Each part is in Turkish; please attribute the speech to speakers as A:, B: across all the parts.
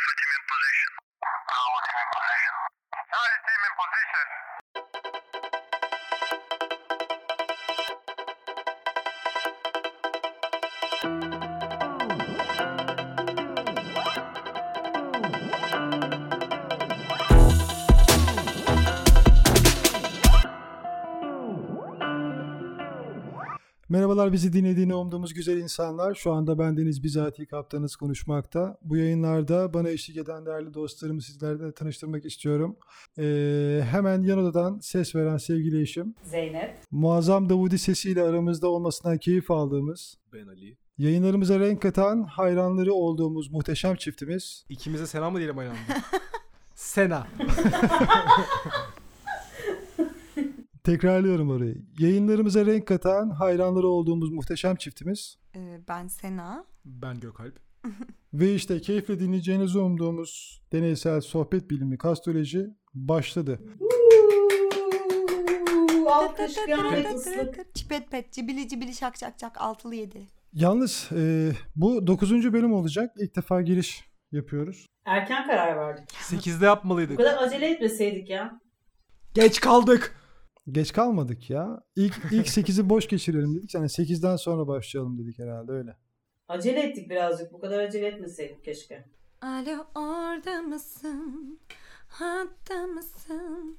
A: position. I want him in position. I see him in position.
B: Merhabalar bizi dinlediğini umduğumuz güzel insanlar. Şu anda bendeniz bizatihi kaptanız konuşmakta. Bu yayınlarda bana eşlik eden değerli dostlarımı sizlerle tanıştırmak istiyorum. Ee, hemen yan odadan ses veren sevgili eşim.
C: Zeynep.
B: Muazzam Davudi sesiyle aramızda olmasından keyif aldığımız,
D: Ben Ali.
B: yayınlarımıza renk katan, hayranları olduğumuz muhteşem çiftimiz.
E: İkimize Sena mı diyelim aynı anda? Sena.
B: Tekrarlıyorum orayı. Yayınlarımıza renk katan, hayranları olduğumuz muhteşem çiftimiz.
F: Ee, Ben Sena.
E: Ben Gökalp.
B: Ve işte keyifle dinleyeceğinizi umduğumuz deneysel sohbet bilimi kastoloji başladı.
C: Uuu, Alkış bir anda ıslık.
F: Çipet pet cibili cibili şak şak şak altılı yedili.
B: Yalnız e, bu 9. bölüm olacak. İlk defa giriş yapıyoruz.
C: Erken karar verdik.
E: 8'de
C: Bu
E: yapmalıydık.
C: kadar acele etmeseydik ya.
E: Geç kaldık.
B: Geç kalmadık ya. İlk, ilk 8'i boş geçirelim dedik. Yani 8'den sonra başlayalım dedik herhalde öyle.
C: Acele ettik birazcık. Bu kadar acele etmeseydik keşke.
F: Alo orada mısın? Hatta mısın?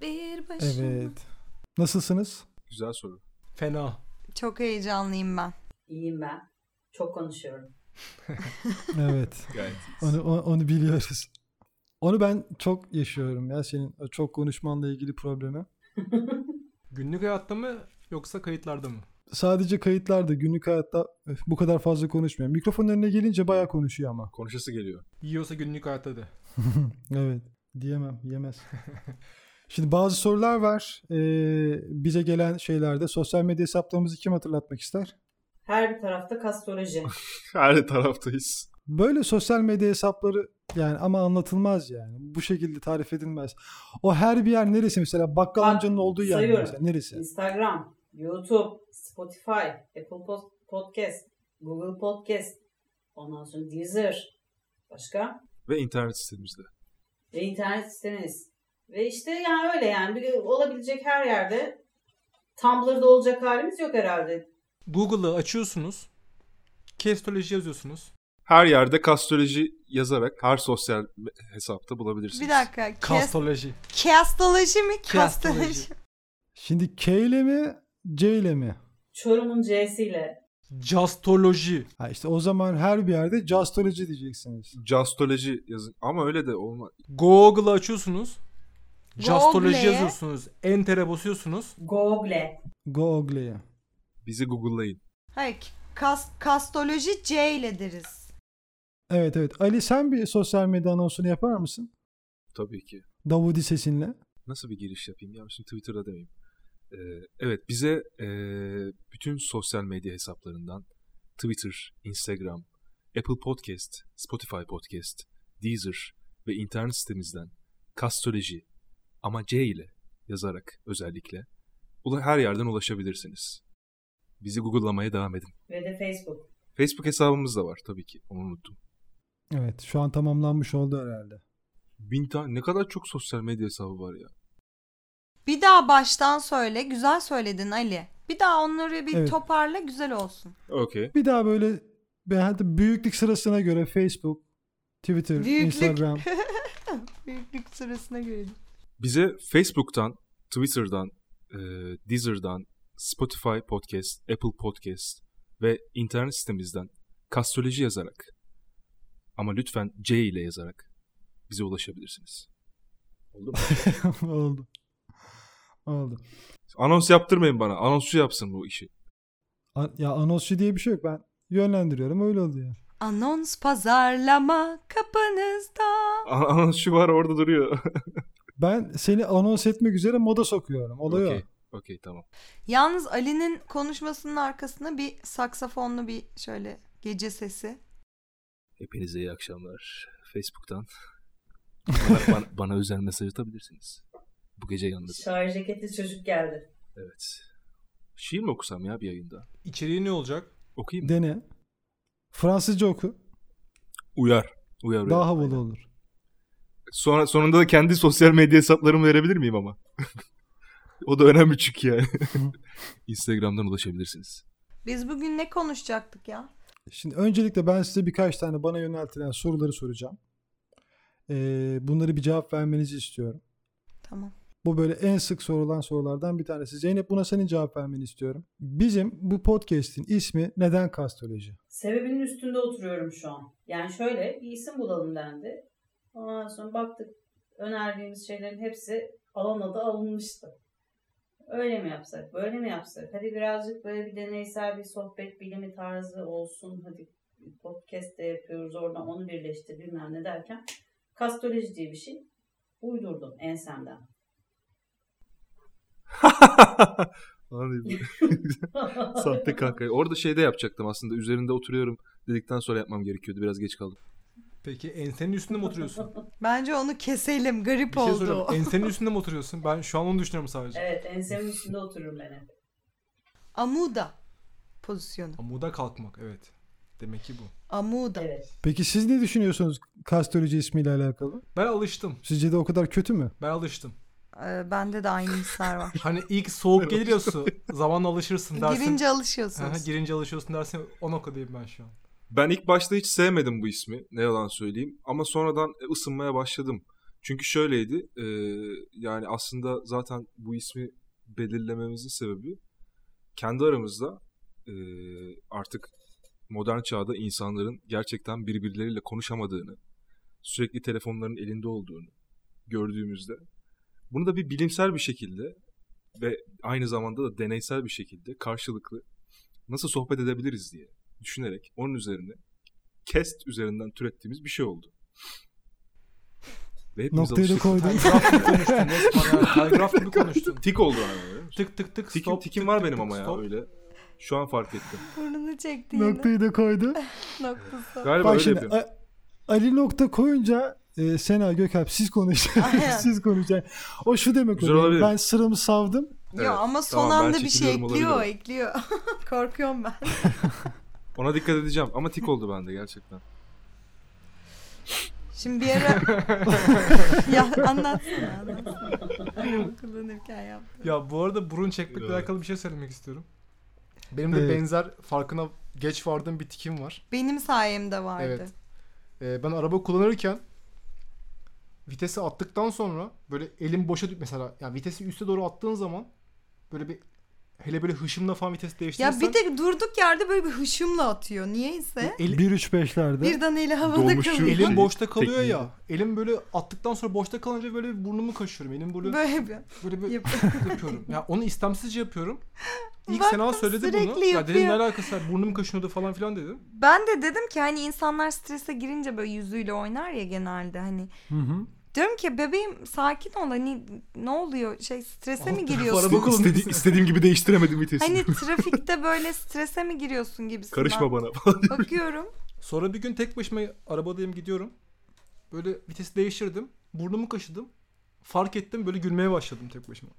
F: Bir başıma.
B: Evet. Nasılsınız?
D: Güzel soru.
E: Fena.
F: Çok heyecanlıyım ben.
C: İyiyim ben. Çok konuşuyorum.
B: Evet.
D: Gayet.
B: Onu, o- onu biliyoruz. Onu ben çok yaşıyorum ya senin o çok konuşmanla ilgili problemi.
E: Günlük hayatta mı yoksa kayıtlarda mı?
B: Sadece kayıtlarda günlük hayatta öf, bu kadar fazla konuşmuyor. Mikrofonun önüne gelince bayağı konuşuyor ama.
D: Konuşası geliyor.
E: Yiyorsa günlük hayatta de.
B: Evet. Diyemem. Yemez. Şimdi bazı sorular var. Ee, bize gelen şeylerde. Sosyal medya hesaplarımızı kim hatırlatmak ister?
C: Her bir tarafta kastoloji.
D: Her taraftayız.
B: Böyle sosyal medya hesapları yani ama anlatılmaz yani. Bu şekilde tarif edilmez. O her bir yer neresi mesela? Bakkal
C: Bak,
B: amcanın olduğu yer
C: sayıyorum.
B: mesela. Neresi?
C: Instagram, YouTube, Spotify, Apple Pod- Podcast, Google Podcast, ondan sonra Deezer, başka
D: Ve internet sitemizde.
C: ve internet siteniz. Ve işte yani öyle yani Bir- olabilecek her yerde Tumblr'da olacak halimiz yok herhalde.
E: Google'ı açıyorsunuz. Kestoloji yazıyorsunuz.
D: Her yerde kastoloji yazarak her sosyal me- hesapta bulabilirsiniz.
F: Bir dakika. Kes,
E: Kastoloji.
F: kastoloji mi? Kastoloji.
E: Kastoloji.
B: Şimdi K ile mi? C ile mi?
C: Çorum'un C'siyle.
E: Castoloji.
B: Ha işte o zaman her bir yerde castoloji diyeceksiniz.
D: Castoloji yazın. Ama öyle de olma.
E: Google'ı açıyorsunuz. Castoloji
F: Google'e.
E: yazıyorsunuz. Enter'e basıyorsunuz.
C: Google.
B: Google'ye.
D: Bizi Google'layın.
F: Hayır. Kas, kastoloji C ile deriz.
B: Evet evet. Ali sen bir sosyal medya anonsunu yapar mısın?
D: Tabii ki.
B: Davudi sesinle.
D: Nasıl bir giriş yapayım? Ya şimdi Twitter'da demeyeyim. Ee, evet bize ee, bütün sosyal medya hesaplarından Twitter, Instagram, Apple Podcast, Spotify Podcast, Deezer ve internet sitemizden kastoloji ama C ile yazarak özellikle ula- her yerden ulaşabilirsiniz. Bizi Google'lamaya devam edin.
C: Ve de Facebook.
D: Facebook hesabımız da var tabii ki. Onu unuttum.
B: Evet şu an tamamlanmış oldu herhalde.
D: Bin tane ne kadar çok sosyal medya hesabı var ya.
F: Bir daha baştan söyle. Güzel söyledin Ali. Bir daha onları bir
B: Evet.
F: toparla güzel olsun.
D: Okey.
B: Bir daha böyle ben de büyüklük sırasına göre Facebook, Twitter,
F: Büyüklük.
B: Instagram.
F: Büyüklük sırasına göre.
D: Bize Facebook'tan, Twitter'dan, eee, Deezer'dan, Spotify Podcast, Apple Podcast ve internet sitemizden kastoloji yazarak ama lütfen C ile yazarak bize ulaşabilirsiniz. Oldu mu?
B: oldu. Oldu.
D: Anons yaptırmayın bana. Anonsçu yapsın bu işi.
B: A- ya anonsçu diye bir şey yok. Ben yönlendiriyorum öyle oluyor.
F: Anons pazarlama kapınızda.
D: An- anonsçu var orada duruyor.
B: Ben seni anons etmek üzere moda sokuyorum. Oluyor.
D: Okey. Okey tamam.
F: Yalnız Ali'nin konuşmasının arkasında bir saksafonlu bir şöyle gece sesi.
D: Hepinize iyi akşamlar. Facebook'tan bana, bana- bana özel mesaj atabilirsiniz. Bu gece yalnız.
C: Şair ceketli çocuk geldi.
D: Evet. Şiir mi okusam ya bir yayında?
E: İçeriği ne olacak?
D: Okuyayım mı?
B: Dene. Fransızca oku.
D: Uyar. Uyar uyar.
B: Daha havalı olur.
D: Sonra, sonunda da kendi sosyal medya hesaplarımı verebilir miyim ama? o da önemli çünkü yani. Instagram'dan ulaşabilirsiniz.
F: Biz bugün ne konuşacaktık ya?
B: Şimdi öncelikle ben size birkaç tane bana yöneltilen soruları soracağım. Ee, bunları bir cevap vermenizi istiyorum.
F: Tamam.
B: Bu böyle en sık sorulan sorulardan bir tanesi. Zeynep buna senin cevap vermeni istiyorum. Bizim bu podcast'in ismi neden kastoloji?
C: Sebebinin üstünde oturuyorum şu an. Yani şöyle bir isim bulalım dendi. Ondan sonra baktık önerdiğimiz şeylerin hepsi alan adı alınmıştı. Öyle mi yapsak, böyle mi yapsak? Hadi birazcık böyle bir deneysel bir sohbet bilimi tarzı olsun. Hadi podcast de yapıyoruz oradan onu birleştir bilmem ne derken. Kastoloji diye bir şey uydurdum ensemden.
D: Lan dedim. Sahte kanka. Orada şeyde yapacaktım aslında. Üzerinde oturuyorum dedikten sonra yapmam gerekiyordu. Biraz geç kaldım.
E: Peki ensenin üstünde mi oturuyorsun?
F: Bence onu keselim. Garip
E: Bir şey
F: oldu.
E: soruyorum.
F: o.
E: Ensenin üstünde mi oturuyorsun? Ben şu an onu düşünüyorum sadece.
C: Evet ensemin üstünde otururum ben hep.
F: Amuda pozisyonu.
E: Amuda kalkmak evet. Demek ki bu.
F: Amuda.
C: Evet.
B: Peki siz ne düşünüyorsunuz kastoloji ismiyle alakalı?
E: Ben alıştım.
B: Sizce de o kadar kötü mü?
E: Ben alıştım.
F: Ee, bende de aynı hisler var.
E: Hani ilk soğuk gelir ya su. Zamanla alışırsın dersin.
F: Girince
E: Aha,
F: alışıyorsunuz.
E: girince alışıyorsun dersin. O noktadayım ben şu an.
D: Ben ilk başta hiç sevmedim bu ismi. Ne yalan söyleyeyim. Ama sonradan e, ısınmaya başladım. Çünkü şöyleydi. e, yani aslında zaten bu ismi belirlememizin sebebi kendi aramızda e, artık modern çağda insanların gerçekten birbirleriyle konuşamadığını, sürekli telefonların elinde olduğunu gördüğümüzde bunu da bir bilimsel bir şekilde ve aynı zamanda da deneysel bir şekilde karşılıklı nasıl sohbet edebiliriz diye düşünerek onun üzerine kest üzerinden türettiğimiz bir şey oldu. Ve hepimiz
B: Noktayı da
D: alıştık.
B: koydum.
E: Telgraf gibi konuştun. Resmen yani. Telgraf gibi konuştun.
D: Tik oldu yani. böyle.
E: Tık tık tık
D: Tikim,
E: stop.
D: tikim
E: tık
D: var
E: tık
D: benim
E: tık
D: ama ya
E: stop.
D: öyle. Şu an fark ettim.
F: Burnunu çekti yine.
B: Noktayı da koydu.
F: Noktası.
D: Galiba
B: Bak
D: öyle
B: şimdi
D: yapıyorum.
B: A- Ali nokta koyunca e, Sena Gökalp siz konuşun.
F: Aynen.
B: siz konuşun. O şu demek
D: Güzel
B: oluyor.
D: olabilir.
B: Ben sıramı savdım.
F: Ya
D: Evet,
F: ama son
D: tamam, ben
F: anda bir şey
D: çekiliyorum
F: ekliyor,
D: olabilirim.
F: ekliyor. Korkuyorum ben.
D: Ona dikkat edeceğim ama tik oldu bende gerçekten.
F: Şimdi bir ara... ya anlatsana, anlatsana. Kullanırken yaptım.
E: Ya bu arada burun çekmekle
D: Evet.
E: alakalı bir şey söylemek istiyorum. Benim de
D: Ee,
B: Evet.
E: benzer farkına geç vardığım bir tikim var.
F: Benim sayemde vardı.
E: Evet. Ee, ben araba kullanırken vitesi attıktan sonra böyle elim boşa düş mesela yani vitesi üste doğru attığın zaman böyle bir hele böyle hışımla falan vitesi değiştirirsen
F: Ya bir de durduk yerde böyle bir hışımla atıyor. Niyeyse.
E: El-
B: 1-3-5'lerde.
F: Birden eli havada
D: Dolmuşçu-
F: kalıyor.
E: elim
D: Şey,
E: boşta kalıyor
D: tekniği.
E: ya. Elim böyle attıktan sonra boşta kalınca böyle bir burnumu kaşıyorum. Elim böyle böyle
F: Böyle bir
E: böyle
F: yap-
E: yapıyorum. Ya onu istemsizce yapıyorum. İlk
F: Baktım
E: Sena söyledi bunu.
F: sürekli
E: Ya dedim ne
F: yapıyor.
E: alakası var? Burnum kaşınıyordu falan filan dedim.
F: Ben de dedim ki hani insanlar strese girince böyle yüzüyle oynar ya genelde hani.
B: Hı hı.
F: Diyorum ki bebeğim sakin ol hani ne oluyor şey strese mi
E: Alt tarafı
F: giriyorsun?
E: araba kullanıyorsun.
D: istediğim gibi değiştiremedim vitesini.
F: Hani trafikte böyle strese mi giriyorsun gibisinden.
D: Karışma bana falan.
F: Bakıyorum.
E: Sonra bir gün tek başıma arabadayım gidiyorum. Böyle vitesi değiştirdim. Burnumu kaşıdım. Fark ettim böyle gülmeye başladım tek başıma.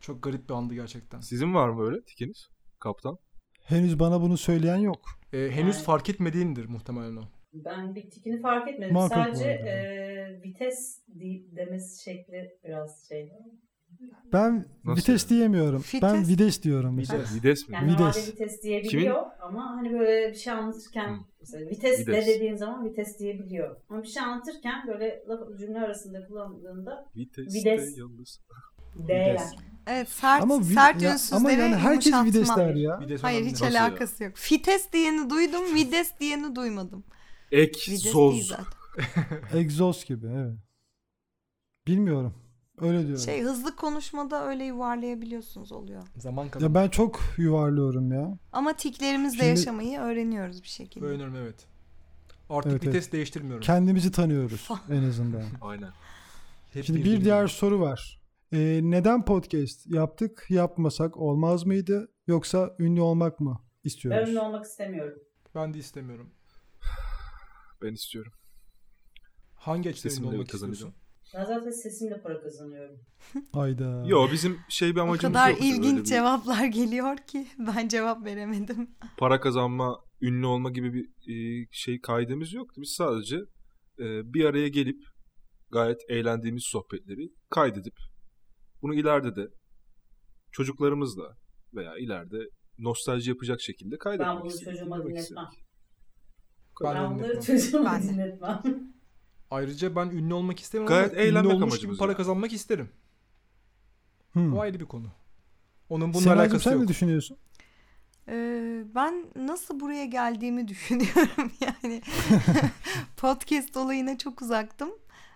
E: Çok garip bir andı gerçekten.
D: Sizin var mı öyle tikiniz? Kaptan.
B: Henüz bana bunu söyleyen yok.
E: Ee, henüz
C: Yani-
E: fark etmediğimdir muhtemelen o.
C: Ben bir tikini fark etmedim.
B: Makul bu
C: Sadece
B: arada.
C: e, vites deyip demesi şekli biraz şey.
B: Ben
D: Nasıl
B: vites
D: yani?
B: diyemiyorum.
F: Fites.
B: Ben vides diyorum. mesela.
E: Vites.
D: Vides mi?
C: Yani normalde
B: Vites.
C: vites diyebiliyor ama hani böyle bir şey
D: Hı.
C: anlatırken mesela vites,
D: Vites.
C: de dediğin zaman vites diyebiliyor. Ama bir şey anlatırken böyle laf- cümle arasında kullandığında
D: Vites.
C: Vides.
D: Yalnız.
C: D'ler.
E: Vites.
F: Evet sert,
B: Ama, vi-
F: sert
B: ya-
F: ünsüzlere
B: ama yani herkes
F: yumuşatma.
B: vides der ya.
E: Vides
F: Hayır
E: önemli.
F: hiç
D: Nasıl ya?
F: alakası yok. Fites diyeni duydum, vides diyeni duymadım.
D: Ek,
F: Vides değil
D: soz.
F: zaten.
B: Egzoz gibi evet. Bilmiyorum. Öyle diyorum.
F: Şey hızlı konuşmada öyle yuvarlayabiliyorsunuz oluyor.
E: Zaman
B: Ya
E: kazan.
B: ben çok yuvarlıyorum ya.
F: Ama tiklerimizle
B: Şimdi-
F: yaşamayı öğreniyoruz bir şekilde.
E: Bu önemli evet. Artık
B: Evet,
E: vites değiştirmiyorum.
B: Kendimizi tanıyoruz en azından.
D: Aynen.
E: Hep
B: Şimdi bir
E: bildiğim
B: diğer
E: gibi.
B: soru var. Ee, neden podcast yaptık? Yapmasak olmaz mıydı? Yoksa ünlü olmak mı
C: Ben
B: istiyoruz?
C: ünlü olmak istemiyorum.
E: Ben de istemiyorum.
D: Ben istiyorum.
E: Hangi açıdan
D: Sesimle
E: olmak
D: kazanacağım.
E: istiyorsun?
C: Ben zaten sesimle para kazanıyorum.
B: Hayda.
D: Yo bizim şey bir
F: O
D: amacımız
F: kadar
D: yoktu. Öyle
F: ilginç
D: bir
F: cevaplar geliyor ki ben cevap veremedim.
D: Para kazanma, ünlü olma gibi bir e, şey kaydımız yoktu. Biz sadece e, bir araya gelip gayet eğlendiğimiz sohbetleri kaydedip bunu ileride de çocuklarımızla veya ileride nostalji yapacak şekilde kaydetmek
C: bunu
D: istedik,
C: çocuğuma
D: dinlemek
C: dinletmem.
D: istedik.
E: Ben
C: Ben,
E: de
C: bunları
E: dinletmem.
C: çocuğuma
F: Ben de.
C: dinletmem.
E: Ayrıca ben ünlü olmak istemem
D: Gayet
E: ama ünlü
D: eğlenmek
E: olmuş gibi
D: amacımız
E: para
D: yani.
E: kazanmak isterim.
B: Hmm.
E: O ayrı bir konu. Onun bununla
B: Senacığım
E: alakası
B: sen
E: yok.
B: ne düşünüyorsun?
F: Ee, ben nasıl buraya geldiğimi düşünüyorum yani podcast olayına çok uzaktım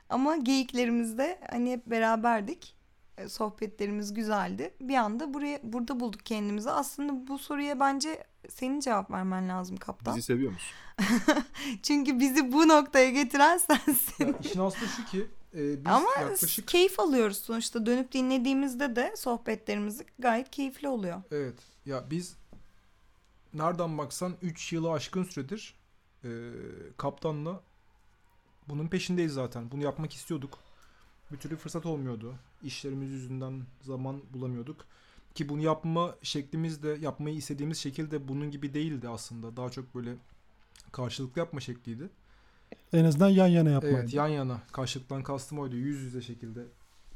F: ama geyiklerimizde hani hep beraberdik Ee, sohbetlerimiz güzeldi bir anda buraya burada bulduk kendimizi aslında bu soruya bence senin cevap vermen lazım kaptan
D: Bizi seviyor musun?
F: çünkü bizi bu noktaya getiren sensin
E: Ya işin aslı şu ki e, biz
F: Ama
E: yaklaşık
F: keyif alıyoruz sonuçta dönüp dinlediğimizde de sohbetlerimiz gayet keyifli oluyor
E: Evet. Ya biz nereden baksan 3 yılı aşkın süredir e, kaptanla bunun peşindeyiz zaten. Bunu yapmak istiyorduk. Bir türlü fırsat olmuyordu. İşlerimiz yüzünden zaman bulamıyorduk. Ki bunu yapma şeklimiz de yapmayı istediğimiz şekil de bunun gibi değildi aslında. Daha çok böyle karşılıklı yapma şekliydi.
B: En azından yan yana yapmayı.
E: Evet yan yana karşılıktan kastım oydu yüz yüze şekilde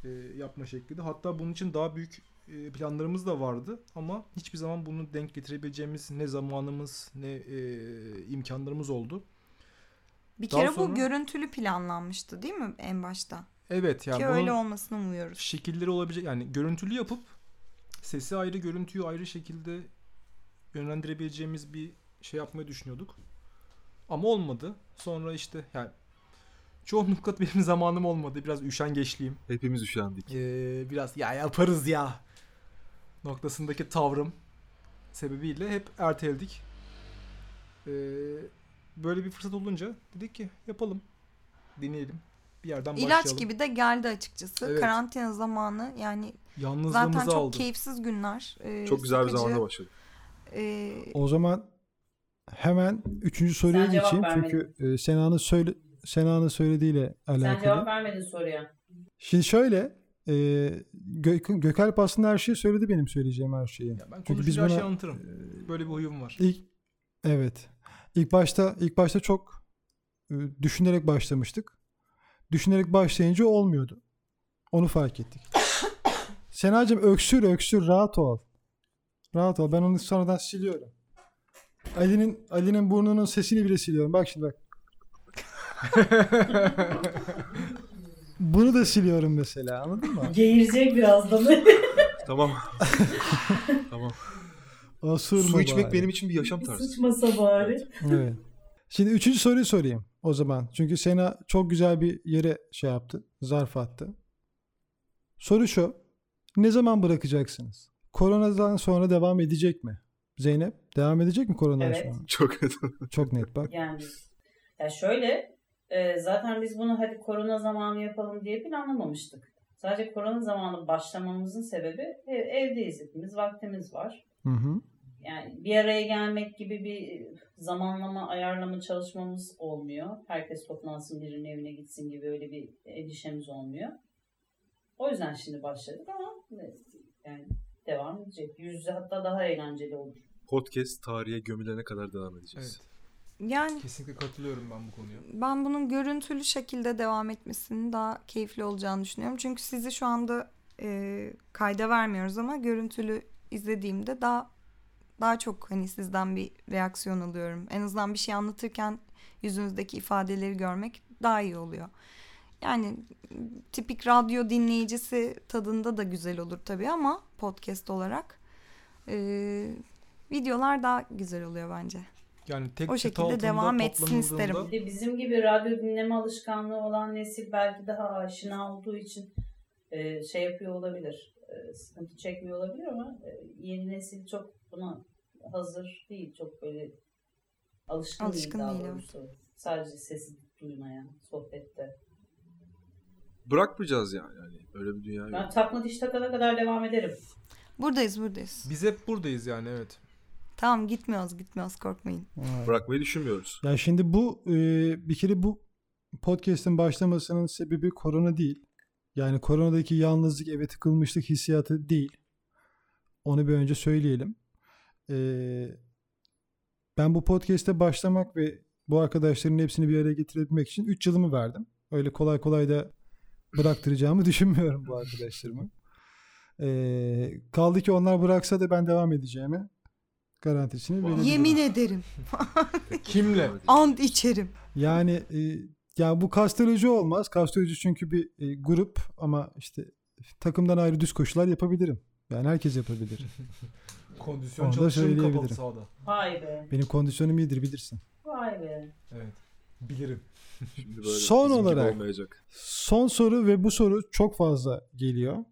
E: e, yapma şekli. de. Hatta bunun için daha büyük e, planlarımız da vardı ama hiçbir zaman bunu denk getirebileceğimiz ne zamanımız ne e, imkanlarımız oldu.
F: bir
E: Daha
F: kere
E: sonra-
F: bu görüntülü planlanmıştı değil mi en başta
E: Evet yani
F: Ki
E: bunun
F: öyle olmasını umuyoruz.
E: şekilleri olabilecek yani görüntülü yapıp sesi ayrı görüntüyü ayrı şekilde yönlendirebileceğimiz bir şey yapmayı düşünüyorduk. Ama olmadı. Sonra işte yani çoğunlukla benim zamanım olmadı. Biraz üşengeçliyim.
D: Hepimiz üşendik.
E: Ee, biraz ya yaparız ya noktasındaki tavrım sebebiyle hep erteledik. Ee, böyle bir fırsat olunca dedik ki yapalım, deneyelim, bir yerden başlayalım.
F: İlaç gibi de geldi açıkçası.
E: Evet.
F: Karantina zamanı yani
E: Yalnızlığımızı
F: zaten çok
E: aldı.
F: keyifsiz günler. Ee,
D: Çok güzel bir
F: sıkıcı,
D: zamanda başladık.
F: ee,
B: O zaman hemen üçüncü soruya
C: Sen cevap
B: geçeyim.
C: vermedin.
B: Çünkü e, Sena'nın söyle Sena'nın söylediğiyle alakalı.
C: Sen cevap vermedin soruya.
B: Şimdi şöyle e, Gök- Gökalp aslında her şeyi söyledi benim söyleyeceğim her şeyi. E,
E: Ya ben
B: Çünkü biz
E: konuşunca her şeyi
B: buna-
E: anlatırım. Böyle bir huyum var.
B: İlk evet. İlk başta ilk başta çok e, düşünerek başlamıştık. Düşünerek başlayınca olmuyordu. Onu fark ettik. Senacığım öksür öksür rahat ol. Rahat ol. Ben onu sonradan siliyorum. Ali'nin Ali'nin burnunun sesini bile siliyorum. Bak şimdi bak. Bunu da siliyorum mesela. Anladın mı?
C: Geğirecek birazdan.
D: Tamam. tamam.
B: Osurma
D: Su içmek
B: bari.
D: benim için bir yaşam tarzı.
C: Sıçmasa bari.
B: Evet. Şimdi üçüncü soruyu sorayım o zaman. Çünkü Sena çok güzel bir yere şey yaptı. Zarf attı. Soru şu. Ne zaman bırakacaksınız? Koronadan sonra devam edecek mi? Zeynep devam edecek mi koronadan
C: Evet.
B: sonra?
D: Çok
B: Çok net bak.
C: Yani ya şöyle e, zaten biz bunu hadi korona zamanı yapalım diye planlamamıştık. Sadece korona zamanı başlamamızın sebebi e, evdeyiz hepimiz, vaktimiz var.
B: Hı hı.
C: Yani bir araya gelmek gibi bir zamanlama, ayarlama çalışmamız olmuyor. Herkes toplansın birinin evine gitsin gibi öyle bir endişemiz olmuyor. O yüzden şimdi başladık ama e, yani devam edecek. Yüz yüze hatta daha eğlenceli olur.
D: Podcast tarihe gömülene kadar devam edeceğiz.
E: Evet.
F: yani
E: Kesinlikle katılıyorum ben bu konuya.
F: ben bunun görüntülü şekilde devam etmesinin daha keyifli olacağını düşünüyorum. Çünkü sizi şu anda e, kayda vermiyoruz ama görüntülü izlediğimde daha daha çok hani sizden bir reaksiyon alıyorum. En azından bir şey anlatırken yüzünüzdeki ifadeleri görmek daha iyi oluyor. Yani tipik radyo dinleyicisi tadında da güzel olur tabii ama podcast olarak e, videolar daha güzel oluyor bence.
E: Yani tek
F: O
E: çatı
F: şekilde
E: altında
F: devam etsin
E: toplanıldığında
F: isterim.
C: Bir de bizim gibi radyo dinleme alışkanlığı olan nesil belki daha aşina olduğu için e, şey yapıyor olabilir. e, sıkıntı çekmiyor olabilir ama e, yeni nesil çok buna hazır değil. Çok böyle alışkın,
F: Alışkın
C: değil daha
F: değil,
C: doğrusu. Sadece sesi duymaya, sohbette.
D: Bırakmayacağız yani. yani. Öyle bir dünya yok.
C: Ben takma diş takana kadar devam ederim.
F: Buradayız buradayız.
E: Biz hep buradayız yani evet.
F: Tamam gitmiyoruz gitmiyoruz korkmayın.
B: Vay.
D: Bırakmayı düşünmüyoruz.
B: Ya şimdi bu e, bir kere bu podcast'in başlamasının sebebi korona değil. Yani koronadaki yalnızlık, eve tıkılmışlık hissiyatı değil. Onu bir önce söyleyelim. E, ben bu podcast'e başlamak ve bu arkadaşların hepsini bir araya getirebilmek için 3 yılımı verdim. Öyle kolay kolay da bıraktıracağımı düşünmüyorum bu arkadaşlarımı. Ee, kaldı ki onlar bıraksa da ben devam edeceğimi garantisini
D: Vay.
B: verebilirim.
F: Yemin ederim.
E: Kimle?
F: Ant içerim.
B: Yani e, yani bu kastoloji olmaz. Kastoloji çünkü bir e, grup ama işte takımdan ayrı düz koşular yapabilirim. Yani herkes yapabilir.
E: Kondisyon
B: Onu da
E: çalışırım kapalı
B: söyleyebilirim.
E: sahada.
C: Vay be.
B: Benim kondisyonum iyidir bilirsin.
C: Vay be.
E: Evet. Bilirim.
D: Şimdi böyle
B: Son
D: bizim gibi
B: olarak-
D: olmayacak.
B: Son soru ve bu soru çok fazla geliyor.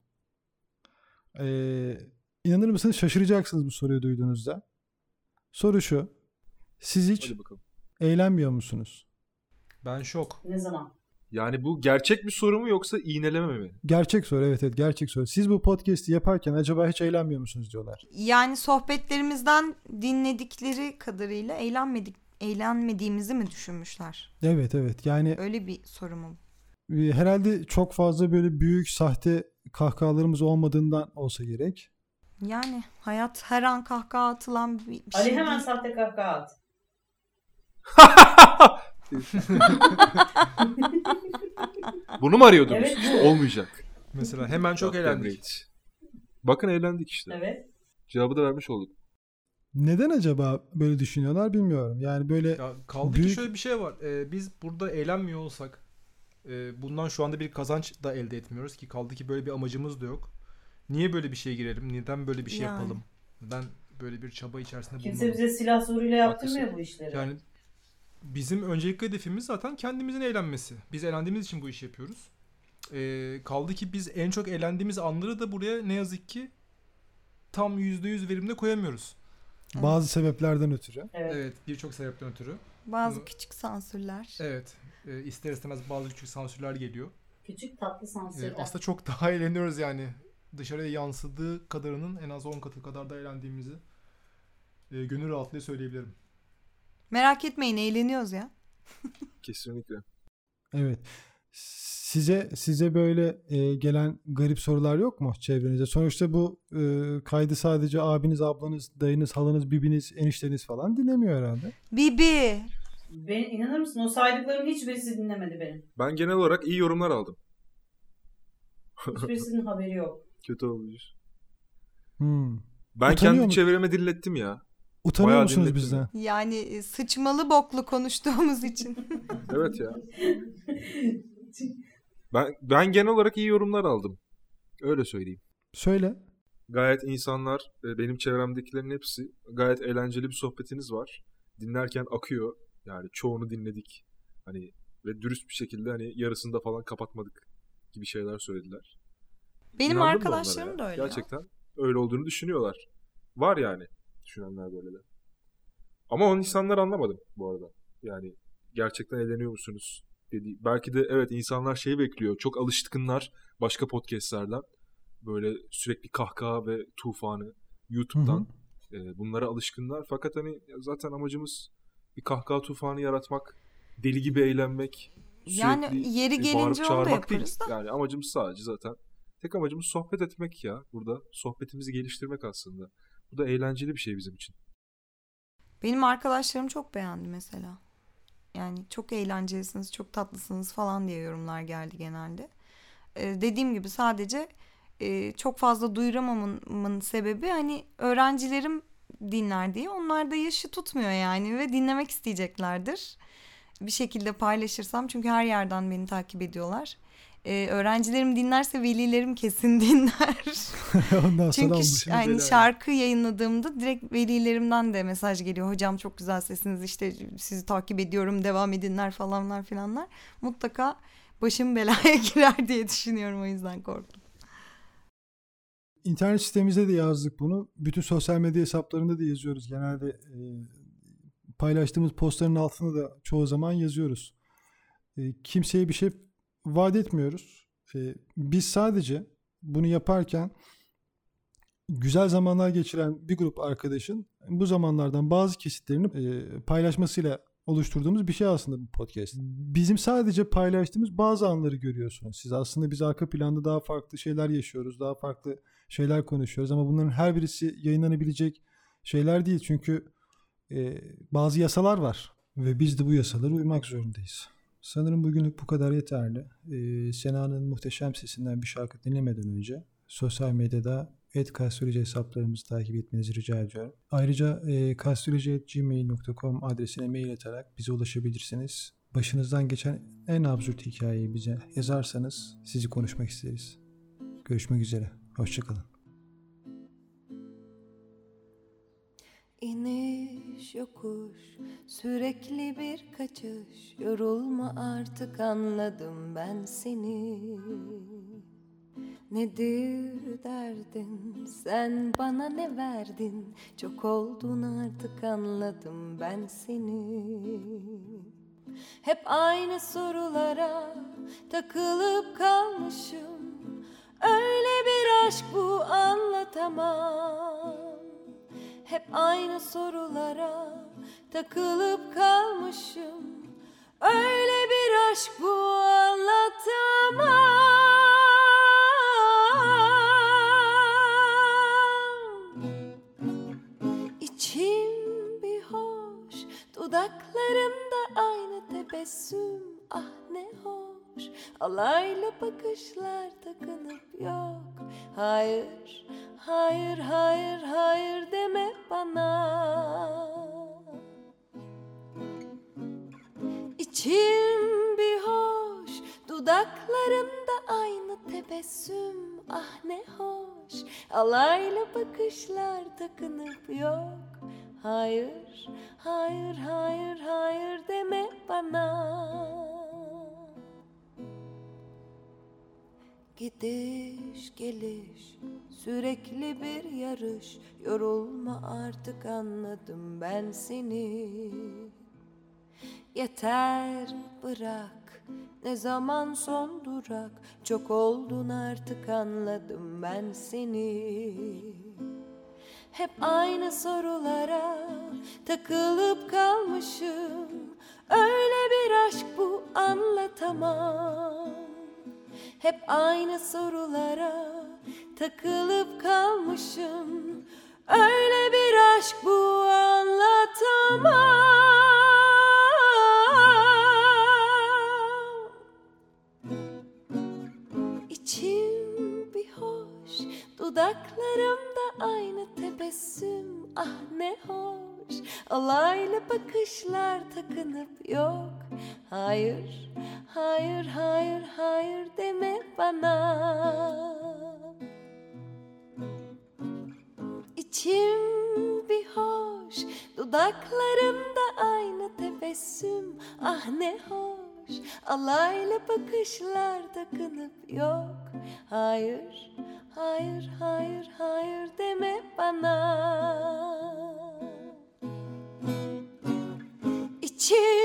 B: Ee, inanır mısınız şaşıracaksınız bu soruyu duyduğunuzda. Soru şu. Siz hiç
D: Hadi bakalım.
B: eğlenmiyor musunuz?
E: Ben şok.
C: Ne zaman?
D: Yani bu gerçek bir soru mu yoksa iğneleme mi?
B: Gerçek soru evet evet gerçek soru. Siz bu podcast'i yaparken acaba hiç eğlenmiyor musunuz diyorlar.
F: Yani sohbetlerimizden dinledikleri kadarıyla eğlenmedik eğlenmediğimizi mi düşünmüşler?
B: Evet evet yani
F: Öyle bir soru mu?
B: e, herhalde çok fazla böyle büyük sahte kahkahalarımız olmadığından olsa gerek.
F: Yani hayat her an kahkaha atılan bir, bir
C: Ali
F: şey
C: hemen
F: değil.
C: sahte kahkaha at.
D: Bunu mu arıyordunuz?
C: Ah, Evet,
D: İşte olmayacak.
E: Mesela hemen çok
D: Yaptım
E: eğlendik.
D: reis. Bakın eğlendik işte.
C: Evet.
D: Cevabı da vermiş olduk.
B: Neden acaba böyle düşünüyorlar bilmiyorum. Yani böyle
E: Ya kaldı ki
B: Büyük-
E: şöyle bir şey var. Ee, biz burada eğlenmiyor olsak e, bundan şu anda bir kazanç da elde etmiyoruz ki kaldı ki böyle bir amacımız da yok. Niye böyle bir şeye girelim? Neden böyle bir şey
F: Yani.
E: yapalım? Neden böyle bir çaba içerisinde
C: Kimse
E: bulunalım?
C: bize silah zoruyla yaptırmıyor bu işleri.
E: Yani bizim öncelikli hedefimiz zaten kendimizin eğlenmesi. Biz eğlendiğimiz için bu işi yapıyoruz. Ee, kaldı ki biz en çok eğlendiğimiz anları da buraya ne yazık ki tam %100 verimde koyamıyoruz.
B: bazı sebeplerden ötürü.
C: evet.
E: Evet birçok sebepten ötürü.
F: Bazı
E: Bunu-
F: küçük sansürler.
E: Evet e, ister istemez bazı küçük sansürler geliyor.
C: Küçük tatlı
E: Ee,
C: sansürler.
E: aslında çok daha eğleniyoruz yani. Dışarıya yansıdığı kadarının en az 10 katı kadar da eğlendiğimizi e, gönül rahatlığı söyleyebilirim.
F: Merak etmeyin eğleniyoruz ya.
D: Kesinlikle.
B: Evet. Size size böyle e, gelen garip sorular yok mu çevrenize? Sonuçta bu e, kaydı sadece abiniz, ablanız, dayınız, halanız, bibiniz, enişteniz falan dinlemiyor herhalde.
F: Bibi.
C: Ben, inanır mısın o saydıklarımın hiçbirisi dinlemedi benim.
D: Ben genel olarak iyi yorumlar aldım.
C: Hiçbirisinin haberi yok.
D: Kötü olmuş.
B: Hmm.
D: Ben
B: Utanıyor
D: kendi
B: mu-
D: çevreme dinlettim ya.
B: Utanıyor
D: Bayağı
B: musunuz
D: dinletti
B: bizden?
F: Yani e, sıçmalı boklu konuştuğumuz için.
D: Evet ya. Ben ben genel olarak iyi yorumlar aldım. Öyle söyleyeyim.
B: Söyle.
D: Gayet insanlar, e, benim çevremdekilerin hepsi gayet eğlenceli bir sohbetiniz var. Dinlerken akıyor. Yani çoğunu dinledik. Hani ve dürüst bir şekilde hani yarısında falan kapatmadık gibi şeyler söylediler.
F: Benim
D: İnandım da
F: arkadaşlarım
D: onlara
F: da
D: ya.
F: öyle. ya.
D: Gerçekten öyle olduğunu düşünüyorlar. Var yani düşünenler böyle de. Ama onu insanlar anlamadım bu arada. Yani gerçekten eğleniyor musunuz? Dedi. Belki de evet insanlar şeyi bekliyor. Çok alışkınlar başka podcastlerden. Böyle sürekli kahkaha ve tufanı YouTube'dan. e, bunlara alışkınlar. Fakat hani zaten amacımız bir kahkaha tufanı yaratmak, deli gibi eğlenmek.
F: Yani
D: sürekli
F: yeri
D: e,
F: gelince
D: bağırıp
F: onu da
D: çağırmak değil.
F: yaparız da.
D: Yani amacımız sadece zaten tek amacımız sohbet etmek ya burada. Sohbetimizi geliştirmek aslında. Bu da eğlenceli bir şey bizim için.
F: Benim arkadaşlarım çok beğendi mesela. Yani çok eğlencelisiniz, çok tatlısınız falan diye yorumlar geldi genelde. Ee, dediğim gibi sadece e, çok fazla duyuramamamın sebebi hani öğrencilerim dinler diye. Onlar da yaşı tutmuyor yani ve dinlemek isteyeceklerdir. Bir şekilde paylaşırsam çünkü her yerden beni takip ediyorlar. Ee, öğrencilerim dinlerse velilerim kesin dinler.
B: Ondan sonra
F: Çünkü
B: olmuş.
F: ş- hani şarkı yayınladığımda direkt velilerimden de mesaj geliyor. Hocam çok güzel sesiniz işte sizi takip ediyorum devam edinler falanlar filanlar. Mutlaka başım belaya girer diye düşünüyorum o yüzden korktum.
B: İnternet sitemize de yazdık bunu. Bütün sosyal medya hesaplarında da yazıyoruz. Genelde e, paylaştığımız postların altına da çoğu zaman yazıyoruz. E, kimseye bir şey vaat etmiyoruz. E, biz sadece bunu yaparken güzel zamanlar geçiren bir grup arkadaşın bu zamanlardan bazı kesitlerini e, paylaşmasıyla oluşturduğumuz bir şey aslında bu podcast. Bizim sadece paylaştığımız bazı anları görüyorsunuz. Siz aslında biz arka planda daha farklı şeyler yaşıyoruz, daha farklı şeyler konuşuyoruz ama bunların her birisi yayınlanabilecek şeyler değil çünkü e, bazı yasalar var ve biz de bu yasalara uymak zorundayız. Sanırım bugünlük bu kadar yeterli. Ee, Sena'nın muhteşem sesinden bir şarkı dinlemeden önce sosyal medyada et kastoloji hesaplarımızı takip etmenizi rica ediyorum. Ayrıca e, kastoloji.gmail.com adresine mail atarak bize ulaşabilirsiniz. Başınızdan geçen en absürt hikayeyi bize yazarsanız sizi konuşmak isteriz. Görüşmek üzere. Hoşçakalın.
F: İniş yokuş sürekli bir kaçış Yorulma artık anladım ben seni Nedir derdin sen bana ne verdin Çok oldun artık anladım ben seni hep aynı sorulara takılıp kalmışım Öyle bir aşk bu anlatamam Hep aynı sorulara takılıp kalmışım Öyle bir aşk bu anlatamam İçim bir hoş, dudaklarımda aynı tebessüm ah ne hoş. Alaylı bakışlar takınıp yok. Hayır, hayır, hayır, hayır deme bana. İçim bir hoş, dudaklarımda aynı tebessüm ah ne hoş. Alaylı bakışlar takınıp yok. Hayır, hayır, hayır, hayır deme bana. Gidiş geliş sürekli bir yarış Yorulma artık anladım ben seni Yeter bırak ne zaman son durak Çok oldun artık anladım ben seni hep aynı sorulara takılıp kalmışım Öyle bir aşk bu anlatamam Hep aynı sorulara takılıp kalmışım Öyle bir aşk bu anlatamam İçim bir hoş, dudaklarımda aynı tebessüm ah ne hoş. Alaylı bakışlar takınıp yok. Hayır, hayır, hayır, hayır deme bana. İçim bir hoş Dudaklarımda aynı tebessüm Ah ne hoş Alaylı bakışlar takınıp yok Hayır, hayır, hayır, hayır deme bana İçim